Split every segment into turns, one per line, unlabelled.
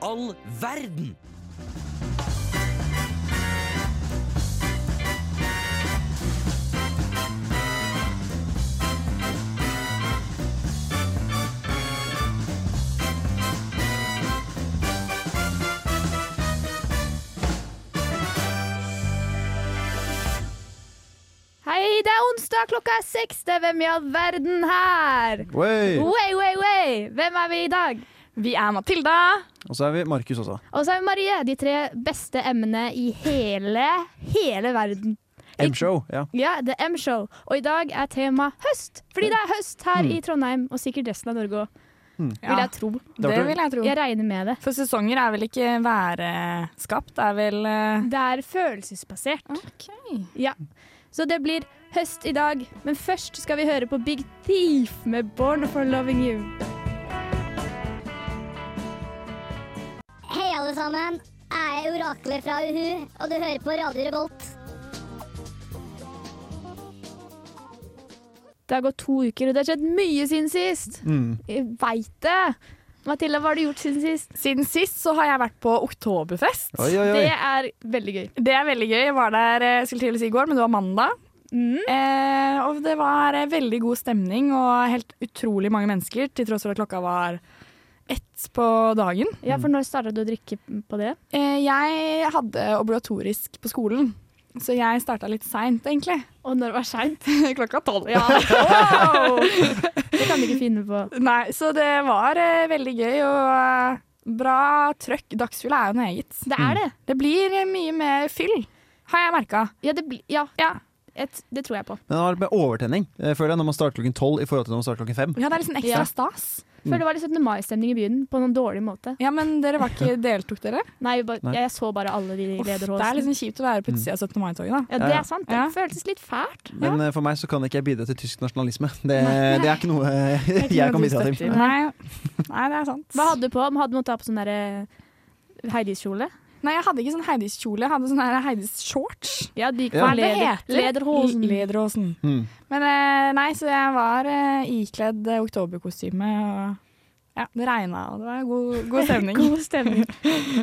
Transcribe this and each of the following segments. all verden?
Hei, det er onsdag, klokka er seks. Det er Hvem i all verden her? Way, way, way. Hvem er vi i dag?
Vi er Matilda.
Og så er vi Markus også.
Og så er vi Marie. De tre beste emnene i hele, hele verden.
M-show. Ja.
Ja, The M-show. Og i dag er tema høst. Fordi det er høst her i Trondheim, og sikkert resten av Norge òg, vil jeg tro.
det
Det
vil jeg tro.
Jeg regner med det.
For sesonger er vel ikke væreskapt, det er vel eh,
Det er følelsesbasert. Ja. Så det blir høst i dag, men først skal vi høre på Big Thief med 'Born for Loving You'.
Hei alle sammen, jeg er oraklet fra Uhu, og du hører på Radio Revolt.
Det har gått to uker, og det har skjedd mye siden sist.
Mm.
Jeg veit det! Mathilde, hva har du gjort siden sist?
Siden sist så har jeg vært på oktoberfest.
Oi, oi, oi.
Det er veldig gøy.
Det er veldig gøy. Jeg var der eh, skulle til å si i går, men det var mandag.
Mm.
Eh, og det var eh, veldig god stemning og helt utrolig mange mennesker, til tross for at klokka var ett på dagen.
Ja, for
Mm.
når starta du å drikke på det?
Eh, jeg hadde obligatorisk på skolen, så jeg starta litt seint, egentlig.
Og når det var seint?
klokka tolv.
Ja. Det kan du ikke finne på.
Nei, så det var eh, veldig gøy og eh, bra trøkk. Dagsfylla er jo noe eget.
Det
Mm.
er det.
Det blir eh, mye mer fyll, har jeg merka.
Ja, det, blir- ja
Ja.
et, det tror jeg på.
Men det har vært med overtenning eh, føler jeg, når man starter klokken tolv i forhold til når man starter klokken fem.
ja, det er liksom
Ja.
ekstra stas.
Mm.
Før det var litt 17. mai-stemning i byen, på noen dårlig måte.
Ja, men dere var ikke deltok dere?
Nei, vi bare,
Nei.
Jeg så bare alle de
Uff, det
lederhåsene.
er liksom kjipt å være på utsida av 17. mai-toget, da.
Ja, det er sant. Det
Ja.
føltes litt fælt.
Men eh, for meg så kan ikke jeg bidra til tysk nasjonalisme. Det, det er ikke noe eh,
Det er ikke
jeg
noe
kan
du
bidra
støtter.
til.
Nei. Nei, det er sant.
Hva hadde du på? Hadde du måttet ha på sånn derre eh, Heidis-kjole?
Nei, jeg hadde ikke sånn Heidis-kjole, jeg hadde sånn her Heidis-shorts.
Ja, de gikk
Ja.
for leder, lederhosen.
Lederhosen.
Mm.
Men eh, nei, så jeg var eh, ikledd eh, oktoberkostyme, og ja, det regna, og det var god, god stemning.
God stemning.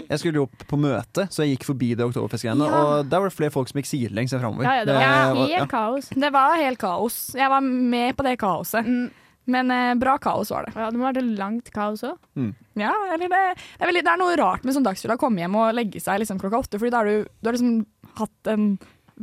Jeg skulle jo opp på møte, så jeg gikk forbi det oktoberfestgreiene.
Ja.
Og der var det flere folk som gikk sidelengs enn framover.
Ja, ja, det var
var-
helt
ja.
kaos.
Det var helt kaos. Jeg var med på det kaoset.
Mm.
Men eh, bra kaos var det.
Ja, det må være langt kaos òg.
Ja, eller det, det, er veldig, det er noe rart med sånn dagsfylla. Komme hjem og legge seg liksom klokka åtte. Fordi da har du, du har liksom hatt en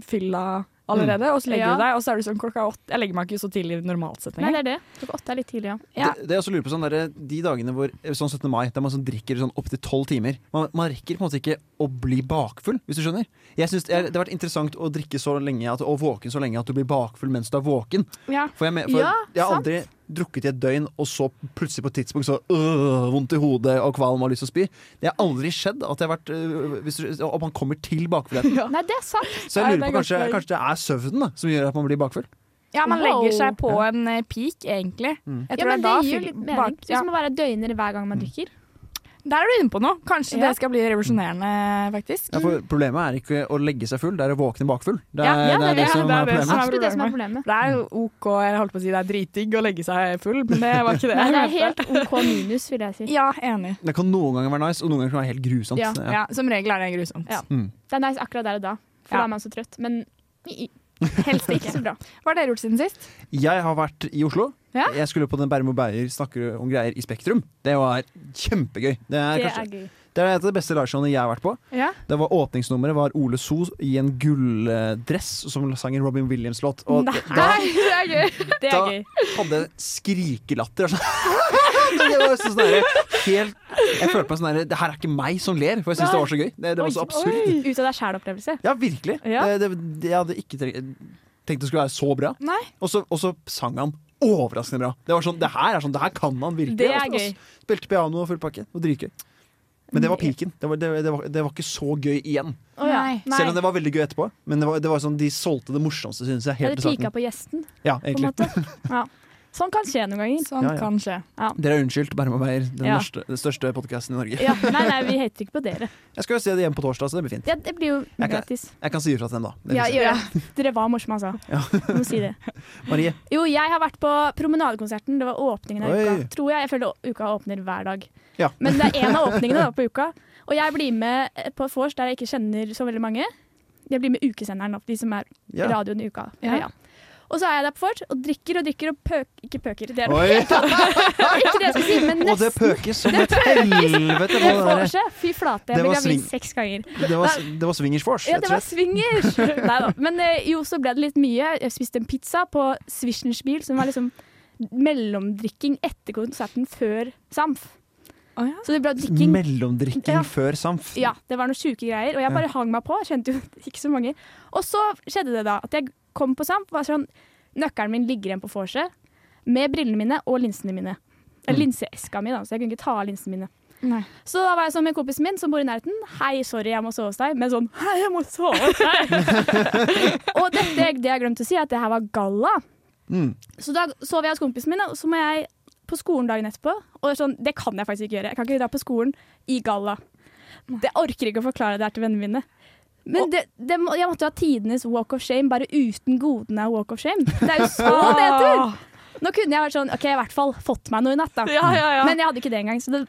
fylla allerede, og så legger
Ja.
du deg. Og så er du sånn klokka åtte. Jeg legger meg ikke så tidlig normalt sett
Nei,
lenger.
det er det. Klokka åtte er litt tidlig, ja.
Ja.
Det, det jeg også lurer på sånn der, De dagene hvor, sånn 17. mai, der man sånn drikker sånn opptil tolv timer man, man rekker på en måte ikke å bli bakfull, hvis du skjønner. Jeg synes det, er, det har vært interessant å drikke så lenge at, og våken så lenge at du blir bakfull mens du er våken.
Ja.
For jeg, me- for
Ja,
jeg har aldri drukket i et døgn, og så plutselig på et tidspunkt så øh, vondt i hodet og kvalm og lyst til å spy. Det har aldri skjedd at jeg har vært øh, hvis du, Og man kommer til bakfullheten.
Nei, det er sant.
Så
Nei,
jeg
det
lurer
er
på
godt
kanskje,
poeng.
kanskje det er søvnen da, som gjør at man blir bakfull.
ja, man
Wow.
legger seg på en eh, peak, egentlig.
Mm.
Jeg
Ja,
tror
men det
det er da
gir jo
fyll-
litt mening.
bak-
Hvis
ja.
man bare er døgner hver gang man drikker.
liksom. Der er du inne på noe. Kanskje
Ja.
det skal bli revolusjonerende, faktisk.
Ja, for problemet er ikke å legge seg full, det er å våkne bakfull. Det er,
Mm. Ja, ja,
det, er det,
det er-
som
det er
er
det
problemet.
som er
Absolutt det som er problemet.
Det er jo OK, jeg holdt på å si det er dritdigg å legge seg full, men det var ikke det.
Nei,
jeg
det er
mente.
helt OK minus, vil jeg si.
Ja, enig.
Det kan noen ganger være nice, og noen ganger kan det være helt grusomt.
Ja.
Ja. Som regel er det grusomt.
Ja.
Mm.
Det er nice akkurat der og da, for
Ja.
da er man så trøtt. Men i- i. helst ikke så bra.
Hva har dere gjort siden sist?
Jeg har vært i Oslo.
Ja.
Jeg skulle på den Bærum og Beyer snakker om greier i Spektrum. Det var kjempegøy. Det er,
Det
kanskje,
er gøy.
det er et av de beste liveshowene jeg har vært på.
Ja.
Det var Åpningsnummeret var Ole So i en gulldress som sang en Robin Williams-låt. Og
Nei,
da
det er gøy! Det
da
er gøy.
hadde jeg skrikelatter. og sånn. Det var sånn der, helt, jeg følte meg sånn der, Det her er ikke meg som ler, for jeg syns det var så gøy. Det, det var så
Oi,
absurd.
oi. Ut av deg sjæl-opplevelse.
Ja, virkelig.
Ja.
Det, det, det, jeg hadde ikke tenkt, tenkt det skulle være så bra.
Nei.
Og så, og så sang han overraskende bra. Det var sånn, det her er sånn, det her kan han virkelig.
Det er
Altså,
gøy.
altså, Spilte piano og full pakke. Og dritgøy. Men det var piken. Det var, det, det, var, det var ikke så gøy igjen.
Å ja.
Nei.
Nei.
Selv om det var veldig gøy etterpå. Men det var, det var sånn, de solgte det morsomste, synes jeg.
Ja,
Helt
det
til starten.
pika på gjesten, på
Ja,
en
egentlig.
måte. Ja. Sånn kan skje noen ganger.
Sånn
Ja, ja.
kan skje.
Ja.
Dere er unnskyldt, Bærum og Beyer, den
Ja.
norske- den største podkasten i Norge.
Ja. Nei, nei, vi hater ikke på dere.
Jeg skal jo se det igjen på torsdag, så det blir fint.
Ja, det blir jo
Jeg kan-
gratis.
Jeg kan si ifra til dem, da. Det
Ja,
fikser jeg.
gjør det. Dere var morsomme, altså.
Ja.
Jeg må si det.
Marie,
Jo, jeg har vært på promenadekonserten. Det var åpningen av
Oi.
uka. Tror jeg. Jeg føler uka åpner hver dag.
Ja.
Men det er en av åpningene da, på uka. Og jeg blir med på et vors der jeg ikke kjenner så veldig mange. Jeg blir med ukesenderen, da, de som er
Ja.
radioen i uka.
Ja.
Og så er jeg der på vors og drikker og drikker og pøk... Ikke pøker, det er noe
Oi!
helt annet. Det er Ikke det jeg skulle si, men
Og det
nesten.
pøkes som et helvete!
Det
på det der.
vorset. Fy flate,
Det
jeg ble
var
gravid
sving-
seks ganger.
Det var, det var swingers force,
Ja,
rett
det
og
var
slett.
swingers! Nei da. Men eh, jo, så ble det litt mye. Jeg spiste en pizza på Swishners bil, som var liksom mellomdrikking etter konserten før Samf.
Å ja.
Så det ble drikking
Mellomdrikking
Ja.
før Samf.
Ja, det var noen sjuke greier, og jeg bare hang meg på. Jeg kjente jo ikke så mange. Og så skjedde det da, at jeg kom på Samp, var sånn Nøkkelen min ligger igjen på vorset med brillene mine og linsene mine.
Mm.
Eller linseeska mi, da, så jeg kunne ikke ta av linsene mine.
Nei.
Så da var jeg sånn med kompisen min som bor i nærheten. Hei, sorry, jeg må sove hos deg. Men sånn, hei, jeg må sove hos deg. og dette, det jeg glemte å si, er at det her var galla.
Mm.
Så da sover jeg hos kompisen min, og så må jeg på skolen dagen etterpå. Og sånn, det kan jeg faktisk ikke gjøre. Jeg kan ikke dra på skolen i galla. Det orker ikke å forklare det her til vennene mine. Men det, det, må- jeg måtte jo ha tidenes walk of shame, bare uten godene av walk of shame. Det er jo så det heter! Nå kunne jeg vært sånn OK, i hvert fall fått meg noe i natt, da.
Ja, ja, ja.
Men jeg hadde ikke det engang. Så det,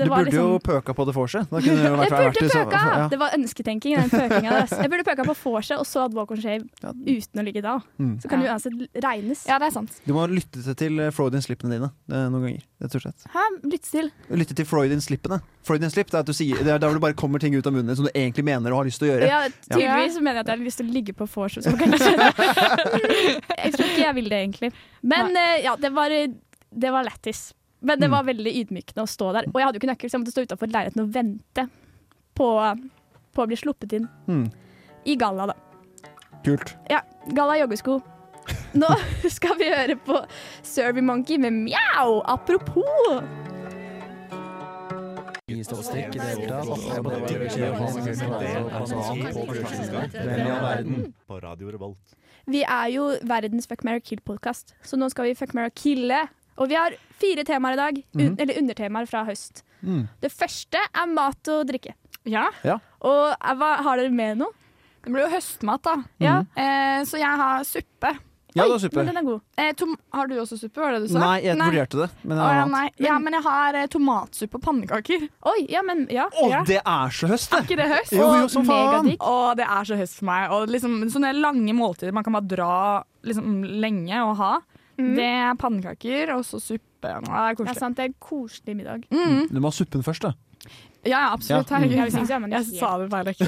det
Du
var
burde
liksom
jo pøka på det vorset. Da kunne det jo
jeg
vært- vært
burde
i sam-
pøka!
ja.
Det var ønsketenking. Den pøkingen deres. Jeg burde pøka på vorset og så hadde walk of shame
Ja.
uten å ligge da.
Mm.
Så kan det
Ja.
uansett regnes.
ja, det er sant.
Du må lytte til- til Freudian-slippene dine eh, noen ganger. rett og slett.
Hæ, lytt til.
Lytte til Freudian-slippene. Freudian-slipp det er at du sier, det er der hvor det bare kommer ting ut av munnen din som du egentlig mener og har lyst til å gjøre.
Ja, tydeligvis mener jeg at jeg har lyst til å ligge på vors. så kan Jeg skjønne. Jeg tror ikke jeg vil det, egentlig. Men eh, ja, det var, det var lættis. Men det
Mm.
var veldig ydmykende å stå der. Og jeg hadde jo ikke nøkkel, så jeg måtte stå utafor leiligheten og vente på, på å bli sluppet inn.
Mm.
I galla, da.
Kult.
Ja, galla joggesko. Nå skal vi høre på Survey Monkey med mjau! Apropos!
Altså,
altså
På Radio Revolt.
Vi er jo verdens Fuck, marry, kill-podkast, så nå skal vi fuck, marry, kille. Og vi har fire temaer i dag, un
Mhm.
eller undertemaer fra høst.
Mm.
Det første er mat og drikke.
Ja.
Og eh, hva, har dere med noe?
Det blir jo høstmat,
Mhm.
da.
Ja,
Eh, så jeg har suppe.
Ja,
Oi,
det var super.
Men den er god.
Eh, tom har du også suppe, var det du sa?
Nei, jeg vurderte det. Men
Å,
jeg
ja,
har
nei. ja, men jeg har eh, tomatsuppe og pannekaker.
Oi, ja, men ja.
Å,
Ja.
det er så høst, det!
Ikke det høst?
Jo, jo, som faen!
megadigg.
Å, det er så høst for meg. Og liksom, sånne lange måltider man kan bare dra liksom, lenge og ha. Det er pannekaker og så suppe. Å, Det er
Det er
koselig.
sant, det er en koselig middag.
Mm.
Hmm, Du må ha suppen først, da.
Ja, ja, absolutt.
Ja.
Herregud.
Ja, hvis ikke så er man jo
Jeg
helt-
sa det feil. ikke?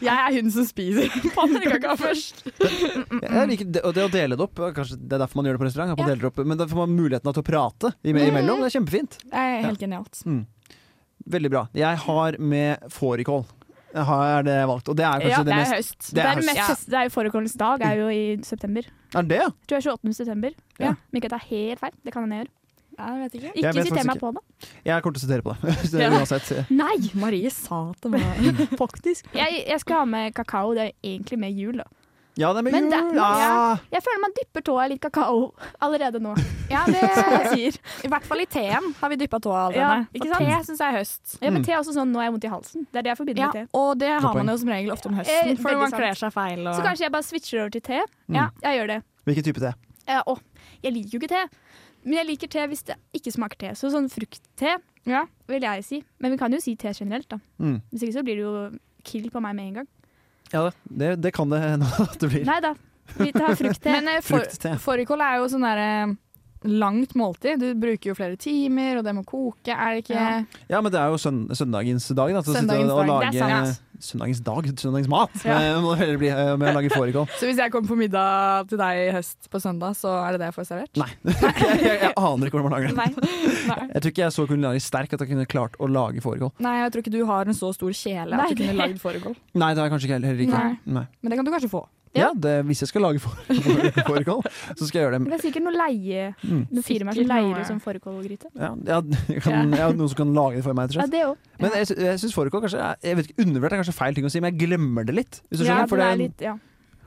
Jeg er hun som spiser pannekaker først.
Jeg liker det, og det å dele det opp, eh, kanskje det er derfor man gjør det på restaurant. At
Ja.
man deler det opp, men da får man muligheten til å prate ime- imellom. Det er kjempefint.
Det er helt genialt.
Mm. Veldig bra. Jeg har med fårikål. Jeg har- Er det valgt? Og det er kanskje
Ja,
det
det er
mest
høst.
Det
Det
er
er, den
høst.
mest, fest- det er jo forekommens dag, er jo i september.
Er det? ja?
Jeg tror jeg er 28. september.
Ja.
Ja. Men ikke at det er helt feil, det kan hende jeg gjør.
Ja, jeg vet ikke.
Jeg
Ikke
vet
siter
faktisk
meg på det.
Jeg kommer til å sitere på det. Så
Ja.
Uansett.
Nei!
Marie sa at det
Mm.
var Faktisk.
Jeg, jeg skal ha med kakao, det er egentlig med jul, da.
Ja, det er med
Men
jul! Ah!
det-
ja.
Jeg føler man dypper tåa i litt kakao allerede nå.
Ja, det sier. I hvert fall i teen har vi dyppa tåa
Ja,
allerede.
ikke
For
sant?
te syns jeg er høst. Mm.
Ja, men te er også sånn, nå har jeg vondt i halsen. Det er det jeg forbinder
Ja,
med te.
og det har
poeng.
man jo som regel ofte om
Eh,
høsten, for
veldig
man
sant.
kler seg feil. Og...
Så kanskje jeg bare switcher over til te.
Mm.
Ja, jeg gjør det.
Hvilken type te?
Eh, å, jeg liker jo ikke te. Men jeg liker te hvis det ikke smaker te. Så sånn fruktte
Ja.
vil jeg si. Men vi kan jo si te generelt, da.
Mm.
Hvis ikke så blir det jo kill på meg med en gang.
Ja, det, det, det kan det hende at det blir.
Nei da, vi tar fruktte.
Men eh, for,
Fruktte.
fårikål er jo sånn derre langt måltid. Du bruker jo flere timer, og det må koke. Er det ikke
Ja.
Ja, men det er jo søn, søndagens dag. Da, til å sitte
Søndagens
og, og
dag,
lage,
det er sant.
Søndagens dag? Søndagens mat!
Ja.
Eh, Må det heller bli eh, med å lage fårikål.
Så hvis jeg kommer på middag til deg i høst på søndag, så er det det jeg får servert?
Nei. Jeg, jeg, jeg aner ikke hvordan man lager det.
Nei. Nei.
Jeg tror ikke jeg er så kulinarisk sterk at jeg kunne klart å lage fårikål.
Nei, jeg tror ikke du har en så stor kjele
Nei,
at du kunne
det-
lagd fårikål.
Nei, det er jeg kanskje ikke heller- heller ikke.
Nei.
Nei.
Men det kan du kanskje få.
Ja, det, hvis jeg skal lage får- får- fårikål, så skal jeg gjøre det.
Det er sikkert noe leie
Mm.
Noen firmaer som
Sikkert noe.
leier ut sånn fårikålgryte.
Ja, jeg, jeg, kan, jeg har noen som kan lage det for meg. Tror
Ja,
jeg.
det òg.
Men jeg, sy- jeg syns fårikål kanskje er- jeg vet ikke, undervurdert er kanskje feil ting å si, men jeg glemmer det litt. Hvis du skjønner,
Ja,
for
den
det,
er litt, ja.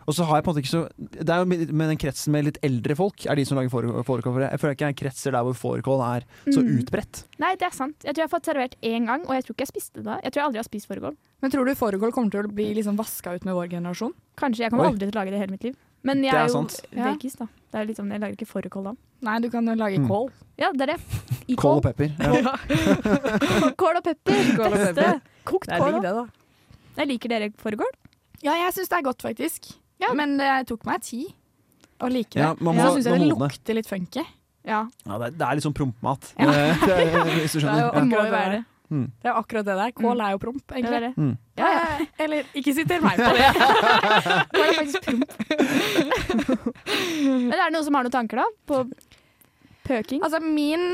Og så har jeg på en måte ikke så Det er jo med med den kretsen med litt eldre folk er de som lager fårikål. fårikål, for Jeg jeg føler ikke jeg kretser der hvor fårikål er så
Mm.
utbredt.
Nei, det er sant. Jeg tror jeg har fått servert én gang, og jeg tror ikke jeg spiste det da. Jeg tror jeg aldri har spist fårikål.
Men tror du fårikål kommer til å bli liksom vaska ut med vår generasjon?
Kanskje. Jeg kommer
Oi.
aldri til å lage det i hele mitt liv. Men jeg
Det er
er jo
sant.
Ja.
veggis, da. Det er litt sånn, jeg lager ikke fårikål da.
Nei, du kan jo lage
Mm.
kål.
Ja, det er det. I
Kål
kål.
og pepper. Ja.
Kål og pepper.
Kål og
Beste.
pepper.
Kokt
Det er
kål.
digg,
da.
det, da.
Jeg liker dere fårikål.
Ja, jeg syns det er godt, faktisk.
Ja.
Men det tok meg tid å like det.
Ja, man
så
må-
syns
man
jeg det
må modne.
lukter litt funky.
Ja,
Ja, det, er, det er litt sånn prompemat,
Ja.
Eh, det Mm. er- hvis du skjønner.
det må
Ja.
Det er jo- Akkurat
jo
det
være det.
Det er akkurat det der. Kål er jo promp,
det, er
egentlig.
det.
Mm.
Ja, ja.
Eller ikke sitter meg på det.
Kål er faktisk promp. Men er det noen som har noen tanker, da? På pøking?
Altså, min,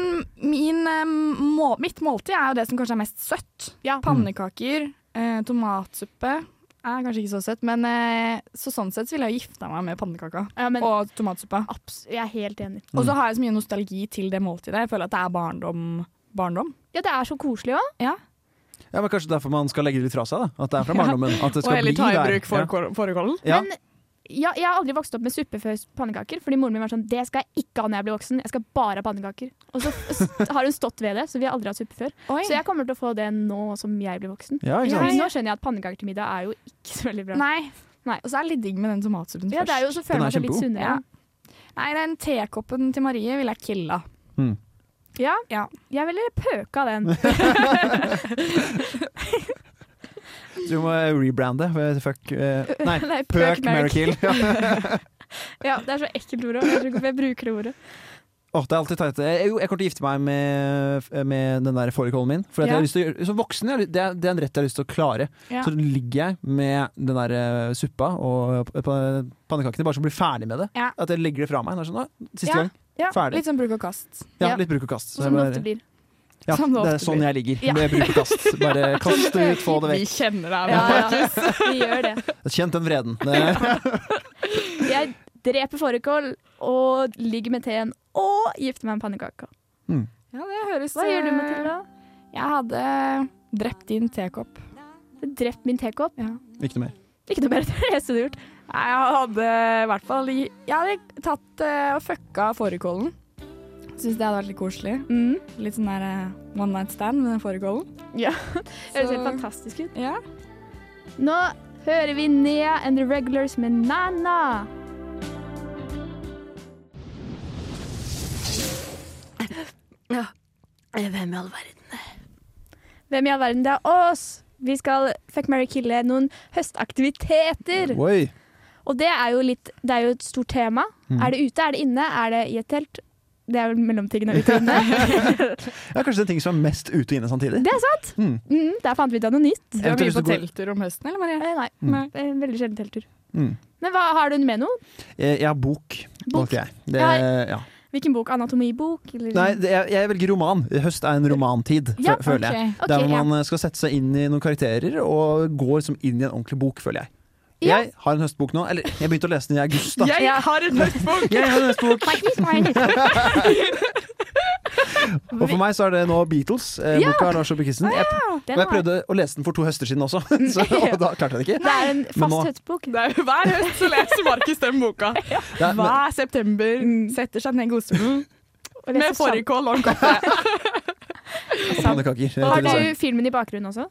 min eh, må, Mitt måltid er jo det som kanskje er mest søtt.
Ja.
Pannekaker, eh, tomatsuppe er kanskje ikke så søtt, men eh, så sånn sett så ville jeg gifta meg med pannekaka
Ja, men
og tomatsuppa.
abs jeg er helt enig.
Og så har jeg så mye nostalgi til det måltidet. Jeg føler at det er barndom. barndom.
Ja, det er så koselig òg.
Ja.
ja, men Kanskje derfor man skal legge det litt fra seg? da At det er fra barndommen. At det
Og
skal
heller
bli
ta i
der.
bruk for- fårikålen.
ja.
Men ja, jeg har aldri vokst opp med suppe før pannekaker, fordi moren min var sånn Det skal jeg ikke ha når jeg blir voksen, jeg skal bare ha pannekaker. Og så s- har hun stått ved det, så vi har aldri hatt suppe før. Så jeg kommer til å få det nå som jeg blir voksen.
ja, ikke sant?
Men nå skjønner jeg at pannekaker til middag er jo ikke så veldig bra.
Nei.
Nei.
Og så er det litt digg med den tomatsuppen
Ja, det er jo så føler
Den er
man seg litt
kjempegod.
sunnere.
Nei, den tekoppen til Marie ville jeg killa.
Ja,
Ja.
jeg ville pøka den.
Du må eh, rebrande. eh, Fuck eh, Nei,
Nei,
Pøk
Mary
Miracle. Ja.
Ja, det er så ekkelt ord òg. Jeg tror ikke jeg bruker det ordet.
Åh, det er alltid teit. Jeg, jo, jeg kommer til å gifte meg med, med den der fårikålen min. For at jeg
Ja.
har lyst til å gjøre, som voksen jeg har lyst- det, er- det er en rett jeg har lyst til å klare.
Ja.
Så ligger jeg med den der eh, suppa og eh, pa- pannekakene, bare så blir ferdig med det.
Ja.
At jeg legger det fra meg. Det er Sånn, «Å, siste
Ja.
gang.
Ja,
Ferdig.
Litt sånn bruk og kast.
Ja,
ja.
Litt bruk og kast. Så
Som det
jeg
ofte
bare-
blir.
ja,
som det
det er
ofte
sånn
blir.
jeg ligger.
Ja.
Med bruk og kast. Bare kast det ut, få det vekk.
kjenner deg.
Ja, ja. Vi gjør det.
Kjent den vreden. Det,
Jeg dreper fårikål og ligger med teen og gifter meg med pannekaka.
Ja, det høres eh,
Hva gjør du, Matilda?
Jeg hadde drept din tekopp.
Drept min tekopp?
ikke noe mer.
Ikke noe mer til det eneste du har gjort.
Nei, jeg hadde i hvert fall Jeg hadde tatt eh, og fucka fårikålen. Syns det hadde vært litt koselig.
Mm.
Litt sånn der eh, one night stand med den fårikålen.
Ja.
Så-
Høres helt fantastisk ut.
Ja.
Nå hører vi Nea and the Regulars med Nana.
Hvem i all verden?
Hvem i all verden? Det er oss! Vi skal fuck, marry, kille noen høstaktiviteter.
Oi.
Og det er jo, litt, det er jo et stort tema.
Mm.
Er det ute, er det inne, er det i et telt? Det er vel mellomtingene ute og inne.
Det er kanskje den ting som er mest ute og inne samtidig.
det er sant!
Mm.
Mm, der fant vi ut av noe nytt.
Du har
Eventuelt
mye
hvis du
på
går-
telttur om høsten, eller Marie?
Eh, Nei,
Mm.
det er en veldig sjelden telttur.
Mm.
Men hva har du med noe?
Eh, Jeg har bok.
Bok?
valgte jeg. Det,
Jeg-
ja.
Hvilken bok? Anatomibok? Eller?
Nei, det, jeg, jeg velger roman. Høst er en romantid, fø-
Ja,
føler jeg.
Ok.
Ok,
Der hvor
ja.
man eh, skal sette seg inn i noen karakterer og går liksom inn i en ordentlig bok, føler jeg.
Ja.
Jeg har en høstbok nå. Eller, jeg begynte å lese den i august, da.
Jeg har en høstbok!
Jeg har en høstbok. Og for meg så er det nå Beatles. Eh,
Ja.
Boka av Lars Åbe Christensen. Jeg,
Den
og jeg
har-
prøvde å lese den for to høster siden også, så, og da klarte jeg det ikke.
Det er en
Men
fast
nå-
høstbok.
Hver høst så leser Markus den boka.
Det er, men,
Hver september setter seg ned i godstolen
og leser
med fårikål og en kopp te.
og pannekaker. eh,
Har
til dessert.
du filmen i bakgrunnen også?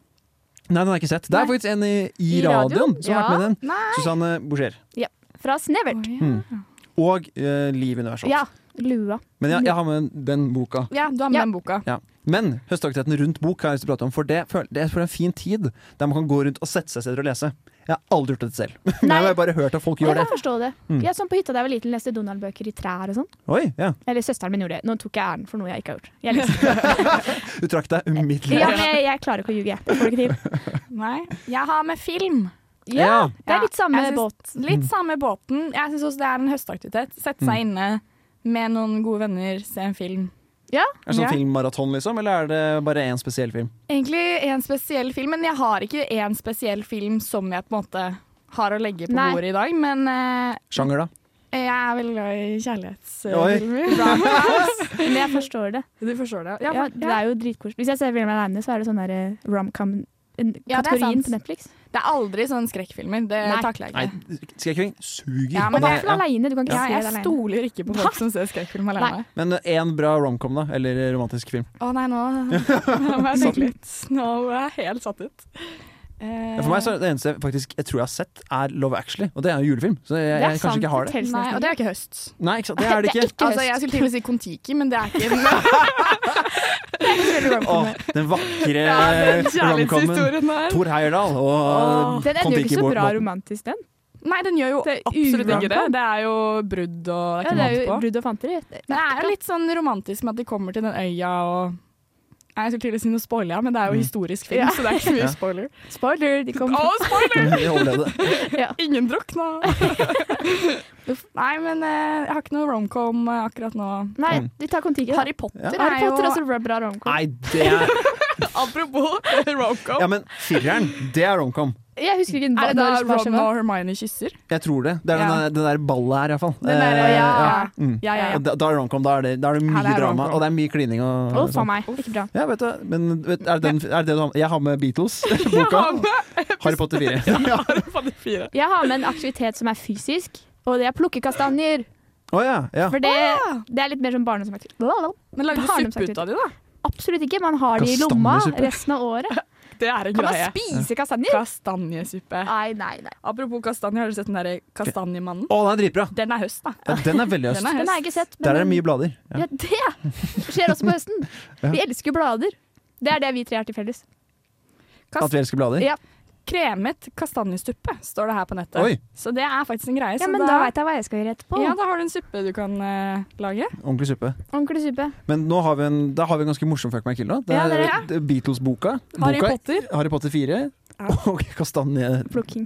Nei, den har jeg ikke sett. Det er
Nei.
faktisk en i, i
I radioen?
radioen som har vært
Ja.
med den. Susanne Boucher.
Fra Snevert.
Hmm. Og eh, Liv Universalt.
Ja. Lua.
Men jeg, jeg har med den boka.
Ja, du har med
Ja.
den boka.
Ja. Men høstaktiviteten rundt bok har jeg lyst til å prate om, for det, føl- det er for en fin tid der man kan gå rundt og sette seg steder og lese. Jeg har aldri gjort det selv, men
Nei.
jeg har bare hørt at folk
Jeg
gjør det.
kan forstå det.
Mm.
Jeg sånn På hytta da jeg var liten, leste Donald-bøker i trær og sånn.
Oi, ja.
Eller søsteren min gjorde det. Nå tok jeg æren for noe jeg ikke har gjort. Jeg, leste.
Du trakk deg umiddelbart.
ja, men jeg, jeg klarer ikke å ljuge, jeg. Jeg Får det ikke til.
Nei. Jeg har med film.
Ja,
Ja.
det er litt samme
Jeg syns-
båt.
Mm.
Litt samme båten. Jeg syns også det er en høstaktivitet. Sette seg inne med noen gode venner, se en film.
Er det sånn
Ja.
filmmaraton, liksom, eller er det bare én spesiell film?
Egentlig en spesiell film, men jeg har ikke en spesiell film som jeg på en måte har å legge på
Nei.
bordet i dag. Men eh,
Sjanger, da?
jeg er veldig glad i kjærlighetsfilmer.
Men jeg forstår det.
Du forstår det?
Ja, det er jo dritkoselig. Hvis jeg ser film alene, så er det sånn der eh, romcom en,
Ja, det er
kategorien
sant.
på Netflix.
Det er aldri sånn skrekkfilmer. Det
Nei.
takler jeg
Nei,
ikke.
skrekkfilm suger.
Ja,
Og
men
i
det-
hvert fall aleine. Du kan ikke
Ja,
se det
jeg
alene.
stoler ikke på folk som ser skrekkfilm alene.
Men én bra romcom, da? Eller romantisk film?
Å nei, nå nå må jeg
Sånn.
tenke litt. Nå er jeg helt satt ut.
Ja, For meg så er det eneste jeg faktisk, jeg tror jeg har sett, er Love Actually. Og det er jo julefilm, så jeg, jeg, kanskje ikke har det.
fortell
Nei,
snart.
og det er ikke høst.
Nei, ikke sant? det er det ikke.
Altså, jeg skulle til å si Kon-Tiki, men det er ikke en
Åh, eh, den vakre
Ja, den
romcomen.
kjærlighetshistorien her.
Tor Heyerdahl og
Den ender jo ikke så
Kon-Tiki
bra
Båten.
romantisk, den.
Nei, den gjør jo
Det er
absolutt ikke det.
urom-com.
Det er jo brudd og det
Ja,
er
det
ikke
er jo
noe annet på.
brudd og fanteri.
Men det er jo litt sånn romantisk med at de kommer til den øya og Nei, jeg skulle til å si noe spoiler, ja, men det er jo
Mm.
historisk film,
Ja.
så det er ikke så
Ja.
mye spoiler.
Spoiler! De
Å,
kommer
spoiler!
Jeg overlevde.
Ingen drukna! Nei, men eh, jeg har ikke noe romcom eh, akkurat nå.
Nei,
Mm.
de tar Kon-Tiki. da.
Harry Potter
Harry
er
Potter
jo
og så bra- bra romcom.
Nei, det er
Apropos romcom.
Ja, men fireren, det er romcom.
Jeg husker ikke
Er det da
når hva som
Ron
var.
og Hermione kysser?
Jeg tror det. Det er den,
Ja.
der- det der ballet her, iallfall.
Den der,
ja.
Mm.
Ja, ja,
Og
ja.
Eh, da, da er det romcom. Da er det, da er det mye
Ja, det er
drama,
rom-com.
og det er mye klining og
Å,
og
faen
sånn.
meg. Ikke bra.
Ja, vet du, men vet, er, det den, er det det du har med? Jeg har med Beatles-boka.
Ja,
Harry Potter 4. Ja.
Harry Potter 4.
Jeg har med en aktivitet som er fysisk, og det er plukke kastanjer.
Å ja, ja.
For det, det er litt mer sånn barndomsaktivitet.
Men lagde du suppe ut av de, da?
Absolutt ikke. Man har de i lomma
Kastanjesuppe.
resten av året.
Det er en
Kan man
greie.
spise kastanjer?
Kastanjesuppe.
Nei, nei, nei.
Apropos kastanje, har du sett den derre Kastanjemannen?
Å, den er dritbra!
Den er høst, da.
Ja, Den er veldig
Den
øst.
er
Den har jeg
høst.
ikke sett. men
Der er det
den-
mye blader. Ja.
Ja, det skjer også på høsten. Vi elsker blader. Det er det vi tre har til felles.
At vi elsker blader.
Ja.
Kremet kastanjesuppe står det her på nettet.
Oi.
Så det er faktisk en greie.
Ja,
så
men da veit jeg hva jeg skal gjøre etterpå.
ja, da har du en suppe du kan eh, lage.
Ordentlig suppe.
Ordentlig suppe.
Men nå har vi en, da har vi en ganske morsom fuck my kill. Da. Det
Ja,
er,
det er
det er Beatles-boka.
Harry
Boka-
Potter.
Harry Potter 4. Og kastanje...
Plukking.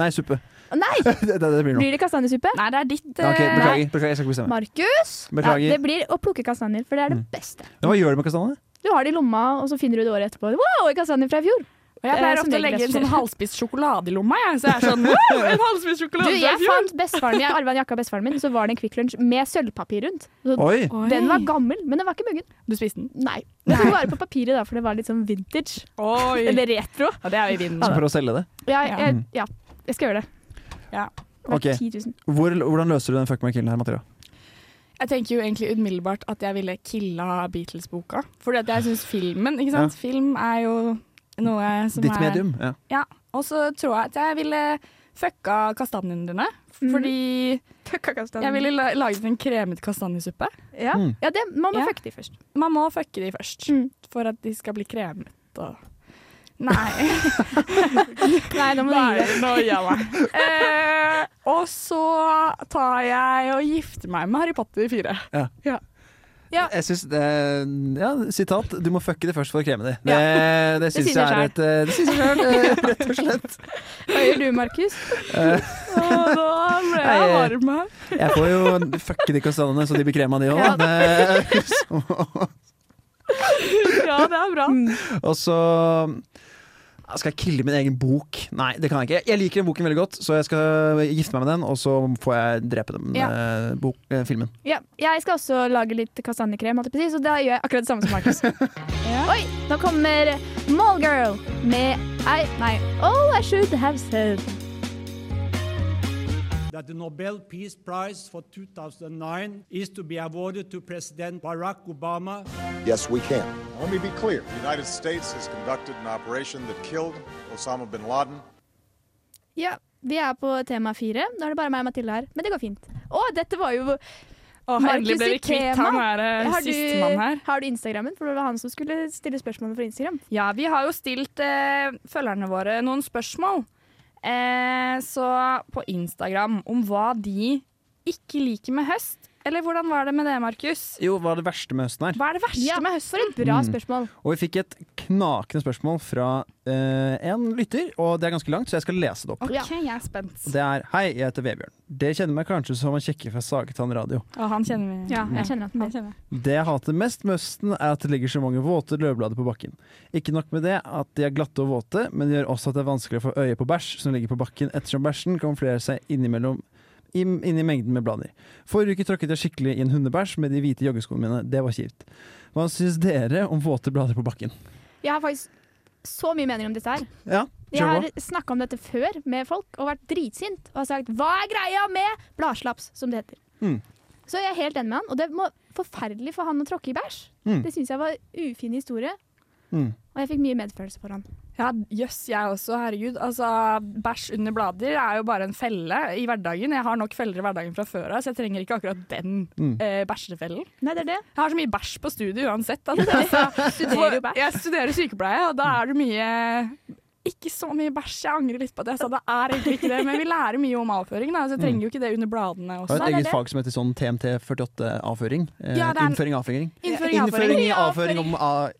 Nei, suppe.
Å, Nei!
Det, det, det blir nå.
Blir det kastanjesuppe?
Nei, det er ditt.
Ja, ok,
eh,
beklager, beklager, jeg skal ikke bestemme.
Markus! Ja,
Beklager. Mm.
det blir å plukke kastanjer, for det er det beste.
Ja, hva gjør du med kastanjene?
Du har det i lomma, og så finner du det året etterpå. Wow, en kastanje fra i fjor!
Og jeg
Det er
pleier
som
ofte å
regel
legge en
best.
sånn halvspist sjokolade i lomma, jeg. Så jeg er sånn wow, en
Du,
halvspist sjokolade
jeg fant bestefaren min, jeg arva en jakke av bestefaren min, så var det en Kvikk Lunsj med sølvpapir rundt. Så
Oi!
den var gammel, men den var ikke muggen.
Du spiste den?
Nei. Det sto bare på papiret, da, for det var litt sånn vintage.
Oi.
Eller retro.
ja, det er jo i vinden.
Så prøv å selge det.
Ja,
Ja.
jeg, ja, jeg skal gjøre det.
Ja.
Det var
Ok.
10 000.
Hvor, hvordan løser du den fuck my killen her, Mathilda?
Jeg tenker jo egentlig umiddelbart at jeg ville killa Beatles-boka. Fordi at jeg syns filmen ikke sant? Film er jo noe som
Ditt
er
medium? Ja.
Og så tror jeg at jeg ville fucka kastanjene dine.
Mhm.
Fordi
Fucka kastanjer.
jeg ville la laget en kremet kastanjesuppe.
Ja,
Mm.
ja det, man må
Ja.
fucke de først.
Man må fucke de først
Mm.
for at de skal bli kremet og Nei.
Nei, nå må du gi deg.
nå gir jeg meg. Eh, og så tar jeg og gifter meg med Harry Potter 4.
Ja.
Jeg syns det Ja, sitat. Du må fucke det først for å kreme det. Det, det syns
sier
jeg er
seg
et eh, Det sier seg sjøl, eh, rett og slett.
Hva gjør du, Markus?
Og da ble jeg
Nei, eh,
varm her.
Jeg får jo fucke de kastanjene så de blir krema, de eh, òg.
Ja.
Ja, det er bra.
Og så skal jeg kille min egen bok? Nei, det kan jeg ikke. Jeg liker den boken veldig godt, så jeg skal gifte meg med den, og så får jeg drepe den
Ja.
eh, bok, eh, filmen.
Ja, jeg skal også lage litt kastanjekrem, holdt jeg på å si, så da gjør jeg akkurat det samme som Markus.
Ja.
Oi, nå kommer Mallgirl med I, Nei, All I Should Have Said.
that the Nobel Peace Prize for 2009 is to be awarded to President Barack Obama
Yes, we can.
Let me be clear. The United States has conducted an operation that killed Osama bin Laden.
Ja, vi er på tema fire. Nå er det bare meg og Mathilde her, men det går fint. Å, dette var jo
Og
Markus
endelig ble vi
i
kvitt
tema.
han her,
har du,
sistemann her.
har du Instagrammen? For det var han som skulle stille spørsmålet for Instagram.
Ja, vi har jo stilt eh, følgerne våre noen spørsmål. Eh, så på Instagram om hva de ikke liker med høst. Eller hvordan var det med det, Markus?
Jo, hva er det verste med høsten her?
Hva er det verste
Ja,
med
for
høsten?
et bra spørsmål.
Og vi fikk et knakende spørsmål fra eh, en lytter, og det er ganske langt, så jeg skal lese det opp.
OK,
Ja.
jeg er spent.
Og Det er Hei, jeg heter Vebjørn. Dere kjenner meg kanskje som en kjekke fra Sagetann radio.
Og han kjenner vi.
Ja,
Mm.
jeg kjenner at
Han
den
kjenner vi.
Det jeg hater mest med høsten, er at det ligger så mange våte løvblader på bakken. Ikke nok med det at de er glatte og våte, men det gjør også at det er vanskelig å få øye på bæsj som ligger på bakken, ettersom bæsjen kamuflerer seg innimellom inn inn i mengden med blader. Forrige uke tråkket jeg skikkelig i en hundebæsj med de hvite joggeskoene mine. Det var kjipt. Hva syns dere om våte blader på bakken?
Jeg har faktisk så mye meninger om dette her.
Ja,
Jeg
kjør
har
på.
snakka om dette før med folk og vært dritsint og har sagt 'hva er greia med bladslaps', som det heter.
Mm.
Så jeg er helt enig med han, og det var forferdelig for han å tråkke i bæsj.
Mm.
Det syns jeg var ufin historie,
Mm.
og jeg fikk mye medfølelse for han.
Ja, jøss, jeg også, herregud. Altså, bæsj under blader er jo bare en felle i hverdagen. Jeg har nok feller i hverdagen fra før av, så jeg trenger ikke akkurat den
Mm.
eh, bæsjefellen.
Nei, det er det.
Jeg har så mye bæsj på studiet uansett. Altså.
Studerer jo bæsj.
Jeg studerer sykepleie, og da er det mye Ikke så mye bæsj, jeg angrer litt på at jeg sa det er egentlig ikke det, men vi lærer mye om avføring, da, så jeg trenger jo ikke det under bladene
Jeg
også.
har Mm. et
Nei, det er
eget fag som heter sånn TMT48-avføring. Eh,
Ja, det er en-
Innføring og avføring.
Innføring,
Innføring i
avføring.
avføring om av
Ja, og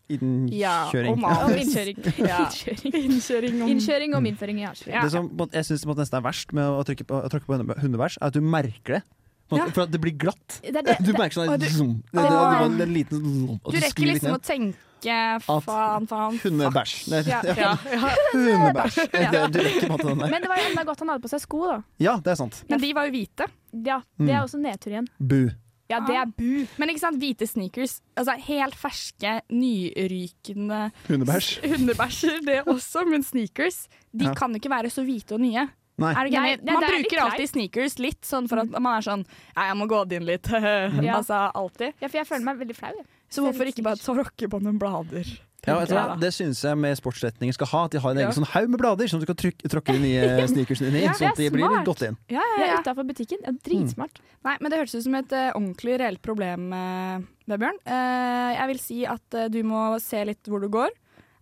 innkjøring.
manus.
Og innkjøring.
Ja.
Innkjøring.
Innkjøring om
Mm. Innkjøring om innføring i avkjøring.
Ja.
Det som på en måte- jeg syns nesten er verst med å trykke på, å tråkke på hunde- hundebæsj, er at du merker det. På en måte,
Ja.
For at det blir glatt.
Det er det,
Du
det,
merker sånn
og
at
du-
zoom. Det, det,
og-
det, var en liten zoom, og
Du
så sklir
rekker
litt
liksom
ned.
å tenke
At
faen, faen.
Hundebæsj. Nei,
Ja,
ja,
ja, ja.
Hundebæsj. Det- Du rekker på en måte den der.
men det var jo enda godt han hadde på seg sko, da.
Ja, det er sant.
Men de var jo hvite.
Ja, Det
Mm.
er også nedtur igjen.
Bu.
Ja, det er bu.
Men ikke sant, hvite sneakers, altså helt ferske, nyrykende
Hundebæsj.
hundebæsjer, det også, men sneakers, de
Ja.
kan jo ikke være så hvite og nye.
Nei.
Er det ikke
Nei,
enig?
det-
Man
det er litt Mm.
bruker alltid sneakers litt, sånn for at man er sånn Ja, jeg må gå det inn litt. altså alltid.
Ja, for jeg føler meg veldig flau. jeg.
Så hvorfor ikke bare tråkke på noen blader?
Ja, vet du hva?
Ja.
Det syns jeg med sportsretninger skal ha. At de har en
Ja.
egen sånn haug med blader som du kan trykke, tråkke de nye sneakersene inn i.
Ja, det
sånn at
er
de blir
smart.
godt inn.
Ja,
Jeg er utafor butikken.
Mm.
Ja, dritsmart.
Nei, men det hørtes ut som et eh, ordentlig reelt problem, eh, Vebjørn. Eh, jeg vil si at eh, du må se litt hvor du går.